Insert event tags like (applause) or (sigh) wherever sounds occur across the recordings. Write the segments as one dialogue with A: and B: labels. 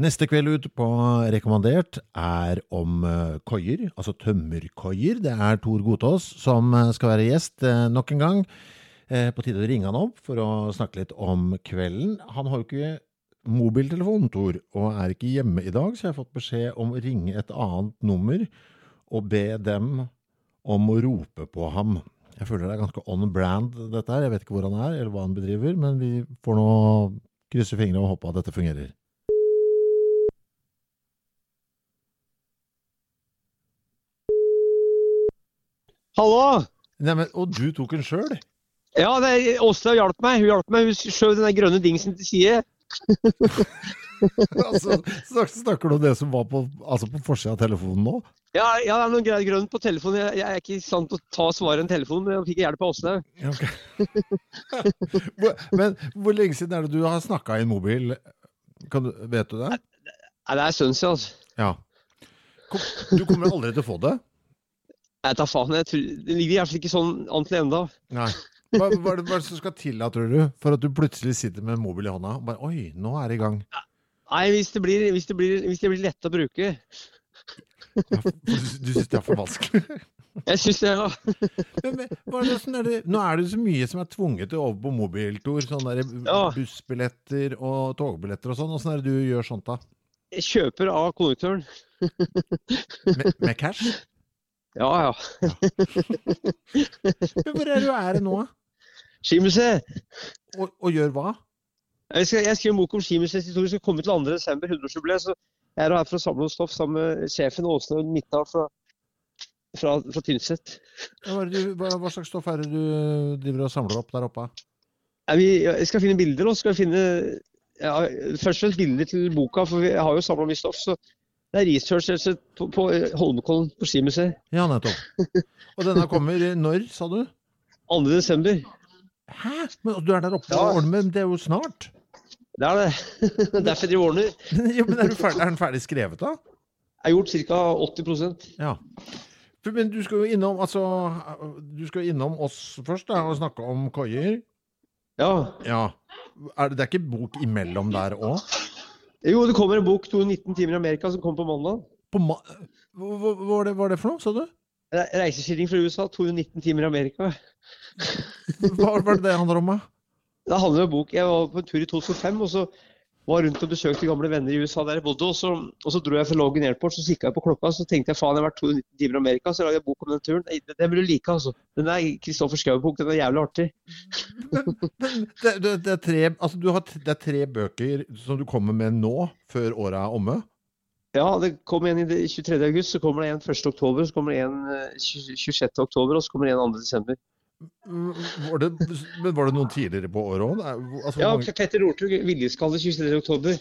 A: Neste kveld ut på Rekommandert er om eh, koier, altså tømmerkoier. Det er Tor Gotaas som eh, skal være gjest eh, nok en gang. Eh, På tide å ringe han opp for å snakke litt om kvelden. Han har jo ikke mobiltelefon, Tor, og er ikke hjemme i dag, så jeg har fått beskjed om å ringe et annet nummer og be dem om å rope på ham. Jeg føler det er ganske on brand, dette her. Jeg vet ikke hvor han er, eller hva han bedriver, men vi får nå krysse fingrene og håpe at dette fungerer.
B: Hallo!
A: Nei, men, og du tok den sjøl?
B: Ja, det er, Åslaug hjalp meg. Hun hjalp meg. Hun skjøv den der grønne dingsen til side.
A: (laughs) altså, snak- snakker du om det som var på, altså på forsida av telefonen nå?
B: Ja, ja, det er noe greier grønt på telefonen. Jeg, jeg er ikke i stand til å ta svaret i en telefon, men jeg fikk hjelp av Åslaug.
A: Ja, ok. (laughs) Hvor- men hvor lenge siden er det du har snakka i en mobil? Kan du, vet du det?
B: Nei, det er sønnen sin, altså.
A: Ja. Kom, du kommer aldri til å få det?
B: Jeg tar faen, jeg tror, det ligger i hvert fall ikke sånn an til enda.
A: Nei. Hva, hva, er det, hva er det som skal til da, tror du, for at du plutselig sitter med en mobil i hånda og bare Oi, nå er det i gang.
B: Nei, hvis det blir, hvis det blir, hvis det blir lett å bruke.
A: Ja, for du du syns det er for vanskelig?
B: Jeg syns det, ja.
A: Men, men, hva er det, sånn er det, nå er det jo så mye som er tvunget til over på mobiltor. Sånn der (laughs)
B: Ja.
A: bussbilletter og togbilletter og sånn. Åssen er det du gjør sånt, da?
B: Jeg kjøper av konduktøren.
A: Med, med cash? (laughs)
B: Ja, ja.
A: Men hvor er du er nå, da?
B: Skimuseet.
A: og, og gjør hva?
B: Jeg, skal- jeg skriver en bok om Skimuseets historie. Skal komme til 2. desember, 100-årsjubileet. Så jeg er her for å samle oss stoff sammen med sjefen Åslaug Midtdal fra, fra, fra Tynset.
A: Hva, er det du, hva, hva slags stoff er det du driver og samler opp der oppe?
B: Nei, vi, jeg skal finne bilder og skal finne ja, først og fremst bilder til boka, for vi har jo samla mye stoff. så Det er research rett og slett på, på eh, Holmenkollen på Skimuseet.
A: Ja, nettopp. Og denne kommer når, sa du?
B: 2. desember.
A: Hæ? Men Du er der oppe
B: Ja.
A: og ordner med Det er jo snart. (laughs)
B: Det (laughs) er det. Derfor de ordner.
A: Ja, men er, du ferdig, er den ferdig skrevet, da?
B: Jeg har gjort ca. 80
A: Ja. For- Men du skal jo innom, altså, du skal jo innom oss først da, og snakke om koier.
B: Ja.
A: Ja. Er det, det er ikke bok imellom der òg?
B: Jo, det kommer en bok, 219 timer i Amerika, som kommer på mandag.
A: Hva, hva var, det- hva er det for noe, sa du?
B: Re- Reiseskildring fra USA, 219 timer i Amerika.
A: Hva var det det handler om, da?
B: Det handler om en bok. Jeg var på en tur i 2005, og så var jeg rundt og besøkte gamle venner i USA der jeg bodde. Og så, og så dro jeg fra Logan Airport, så kikka jeg på klokka, så tenkte jeg faen, jeg har vært 219 timer i Amerika, så lager jeg bok om den turen. Nei, Den, den vil du like, altså. Den er Kristoffer Schou-bok, den er jævlig artig.
A: Men det, det, det, er tre, altså, du har, t- det er tre bøker som du kommer med nå, før året er omme.
B: Ja, det kom en i det- 23. august, så kommer det en 1. oktober, så kommer det en eh, 20 26. oktober, og så kommer det en 2. desember.
A: Var det, men var det noen tidligere på året òg? Altså, hvor
B: Ja,
A: mange-
B: Petter Northug, 'Viljeskalle', 23. oktober.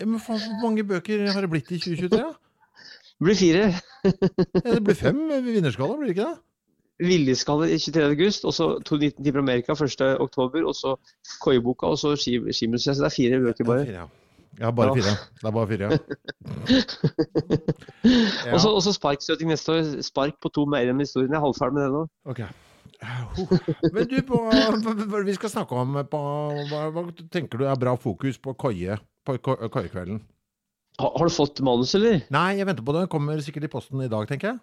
A: Ja, men faen, hvor mange bøker har det blitt i 2023? da?
B: Det blir fire.
A: Ja, det blir fem i vinnerskala, blir det ikke det?
B: 'Viljeskalle' 23. august, og så 219 timer i Amerika 1. oktober, og så Koiboka, og så Ski- Skimuseet. Så det er fire bøker bare.
A: Fire, ja. ja, bare
B: Ja.
A: fire. Det er bare fire. Ja,
B: (laughs) Og så- Og så sparkstøting neste år. Spark på to mer enn historien. Jeg er halvferdig med det nå.
A: ok. Ho. Men du, på, hva hva vi skal snakke om på, hva, hva tenker du er bra fokus på koie? På ko- koiekvelden?
B: Har, har du fått manus, eller?
A: Nei, jeg venter på det. Kommer sikkert i posten i dag, tenker jeg.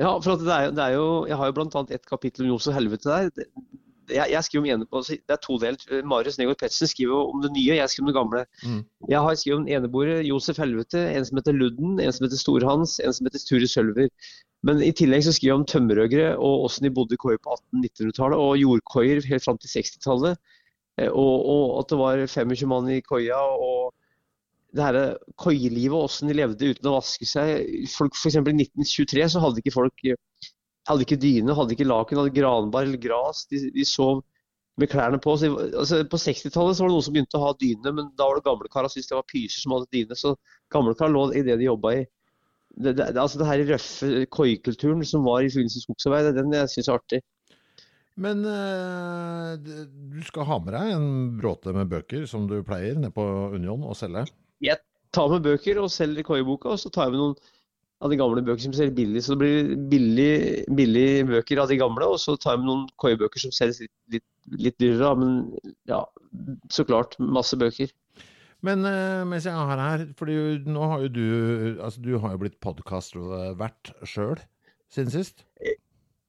B: Ja, for at det er, jo- det er jo Jeg har jo blant annet et kapittel om Josef Helvete der. Det, jeg, jeg skriver om enebo, det er todelt. Marius Negård Pettersen skriver jo om det nye, og jeg skriver om det gamle.
A: Mm.
B: Jeg har skrevet om eneboere, Josef Helvete, en som heter Ludden, en som heter Storhans, en som heter Sture Sølver. Men i tillegg så skriver jeg om tømmerøgere og åssen de bodde i koier på 1800-1900-tallet, og jordkoier helt fram til 60-tallet. Eh, Og, og at det var 25 mann i koia. og det her koielivet og åssen de levde uten å vaske seg. Folk, for eksempel I 1923 så hadde ikke folk hadde ikke dyne, hadde ikke laken, hadde granbar eller gras. De, de sov med klærne på. Så de, altså, på 60-tallet så var det noen som begynte å ha dyne, men da var det gamlekar som syntes det var pyser som hadde dyne. Så gamlekar lå i det de jobba i. Det, det, det, altså det her røffe koikulturen som var i forbindelse med skogsarbeid, det er den jeg syns er artig.
A: Men eh, d- du skal ha med deg en bråte med bøker, som du pleier, ned på Union og selge.
B: Jeg tar med bøker og selger koiboka, og så tar jeg med noen av de gamle bøker som selger billig. Så det blir billig, billig bøker av de gamle, og så tar jeg med noen koibøker som selges litt, litt, litt dyrere, da, men ja, så klart masse bøker.
A: Men eh, mens jeg har her, fordi nå har jo du Altså, du har jo blitt podkastvert sjøl siden sist.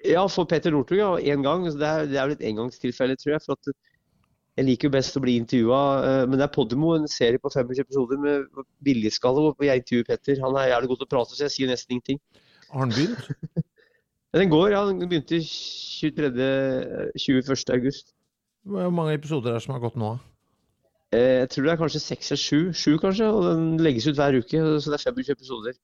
B: Ja, for Peter Northug, ja. Én gang. Så det, er, det er vel et engangstilfelle, tror jeg. For at jeg liker jo best å bli intervjua. eh, Men det er Podimo, en serie på 25 episoder med billigskalle, hvor jeg intervjuer Petter. Han er jævlig god til å prate, så jeg sier nesten ingenting.
A: Har den begynt?
B: Men den går, ja. Den begynte 23. 21. august.
A: Hvor mange episoder er det som har gått nå?
B: Eh, Jeg tror det er kanskje seks eller sju. Sju, kanskje. Og den legges ut hver uke, så det er 25 episoder.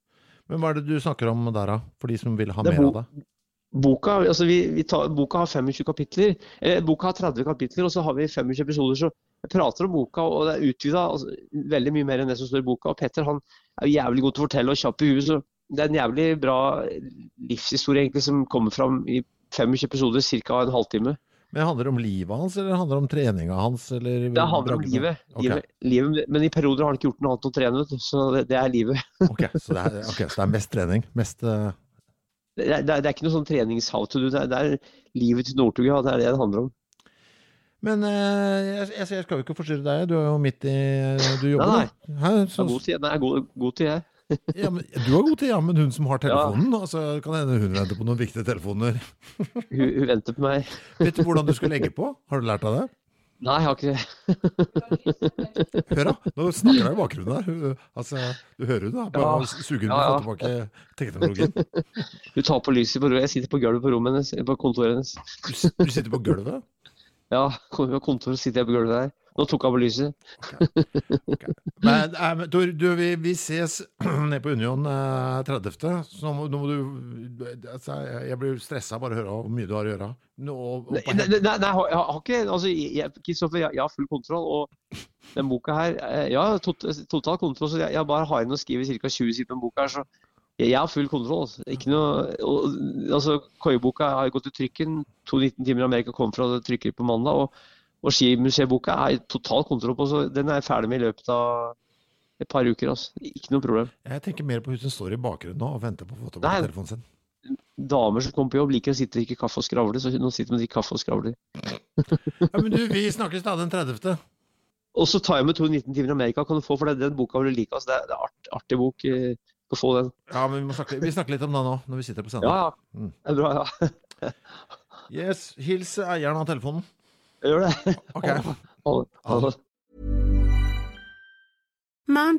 A: Men hva er det du snakker om der, da? For de som vil ha
B: Det er
A: mer av
B: bo-
A: det?
B: Boka, altså vi, vi tar, boka har 25 kapitler. Eh, boka har 30 kapitler, og så har vi 25 episoder. Så jeg prater om boka, og det er utvida altså, veldig mye mer enn det som står i boka. Og Petter han er jo jævlig god til å fortelle og kjapp i huet, så det er en jævlig bra livshistorie egentlig som kommer fram i 25 episoder, ca. en halvtime.
A: Men handler det om livet hans, eller handler det om treninga hans? Eller
B: Det handler om
A: bragdene?
B: livet.
A: Ok.
B: livet, livet men i perioder har han ikke gjort noe annet enn å trene, vet du. så det, det er livet.
A: (laughs) Ok, så det er, ok, så det er mest trening. Mest eh,
B: Det er, det er, det er ikke noe sånn trenings-how to do, det er, det er livet til Northug, ja. Det er det det handler om.
A: Men eh, jeg, jeg, jeg skal jo ikke forstyrre deg, du er jo midt i eh, Du jobber,
B: Nei,
A: da. Hæ,
B: Det
A: så,
B: er god tid, det er god, god tid, jeg.
A: (laughs) ja, men, du har god tid, ja, men hun som har telefonen altså, Kan hende hun venter på noen viktige telefoner.
B: Hun, hun venter på meg.
A: Vet du hvordan du skal legge på? Har du lært av det?
B: Nei, jeg har ikke det.
A: Hør, da. Nå snakker hun i bakgrunnen her. Hun- Altså, du hører hun da. Bare
B: Ja.
A: suger hun
B: Ja,
A: og får tilbake teknologien.
B: Hun tar på lyset på rommet. Jeg sitter på gulvet på rommet hennes, på kontoret hennes.
A: Du, s- du sitter på gulvet.
B: Ja, kom- på kontoret sitter jeg på gulvet der. Nå tok hun på lyset.
A: Men, nei, men Tor, du, vi, vi ses (clears throat) nede på Union eh, 30. Så nå må, nå må du altså, Jeg jeg blir stressa bare av å høre hvor mye du har å gjøre. Nå, og, og
B: Nei,
A: på
B: nei, nei, nei, jeg har- jeg har ikke Altså, jeg, Kristoffer, jeg, jeg har full kontroll. Og den boka her eh, Ja, tot, total kontroll. Så jeg, jeg bare har inn og skriver ca. 20 sider på den boka her, så jeg, jeg har full kontroll. altså. Ikke noe og, Altså, Koiboka har gått i trykken. 219 timer i Amerika kom fra trykker på mandag. Og, og Skimuseet-boka er total kontroll på, så den er jeg ferdig med i løpet av et par uker. altså. Ikke noe problem.
A: Jeg tenker mer på hun som står i bakgrunnen nå og venter på å få tilbake
B: Nei.
A: telefonen sin.
B: damer som kommer på jobb, liker å sitte og drikke kaffe og skravle. Så nå sitter de og drikker kaffe og skravler.
A: Ja, men du, vi snakkes da den 30.
B: Og så tar jeg med 219 timer i Amerika, kan du få, for det er den boka vil du like. Altså, det er, det er art, artig bok. eh, Du får få den.
A: Ja, men vi, må snakke, vi snakker litt om det nå, når vi sitter på
B: Ja,
A: scenen.
B: ja.
A: Mm.
B: Det er bra, ja. (laughs)
A: Yes, Hils eieren av telefonen.
B: Jeg gjør det.
A: Ok.
B: Ha det. Ha det.
C: Mom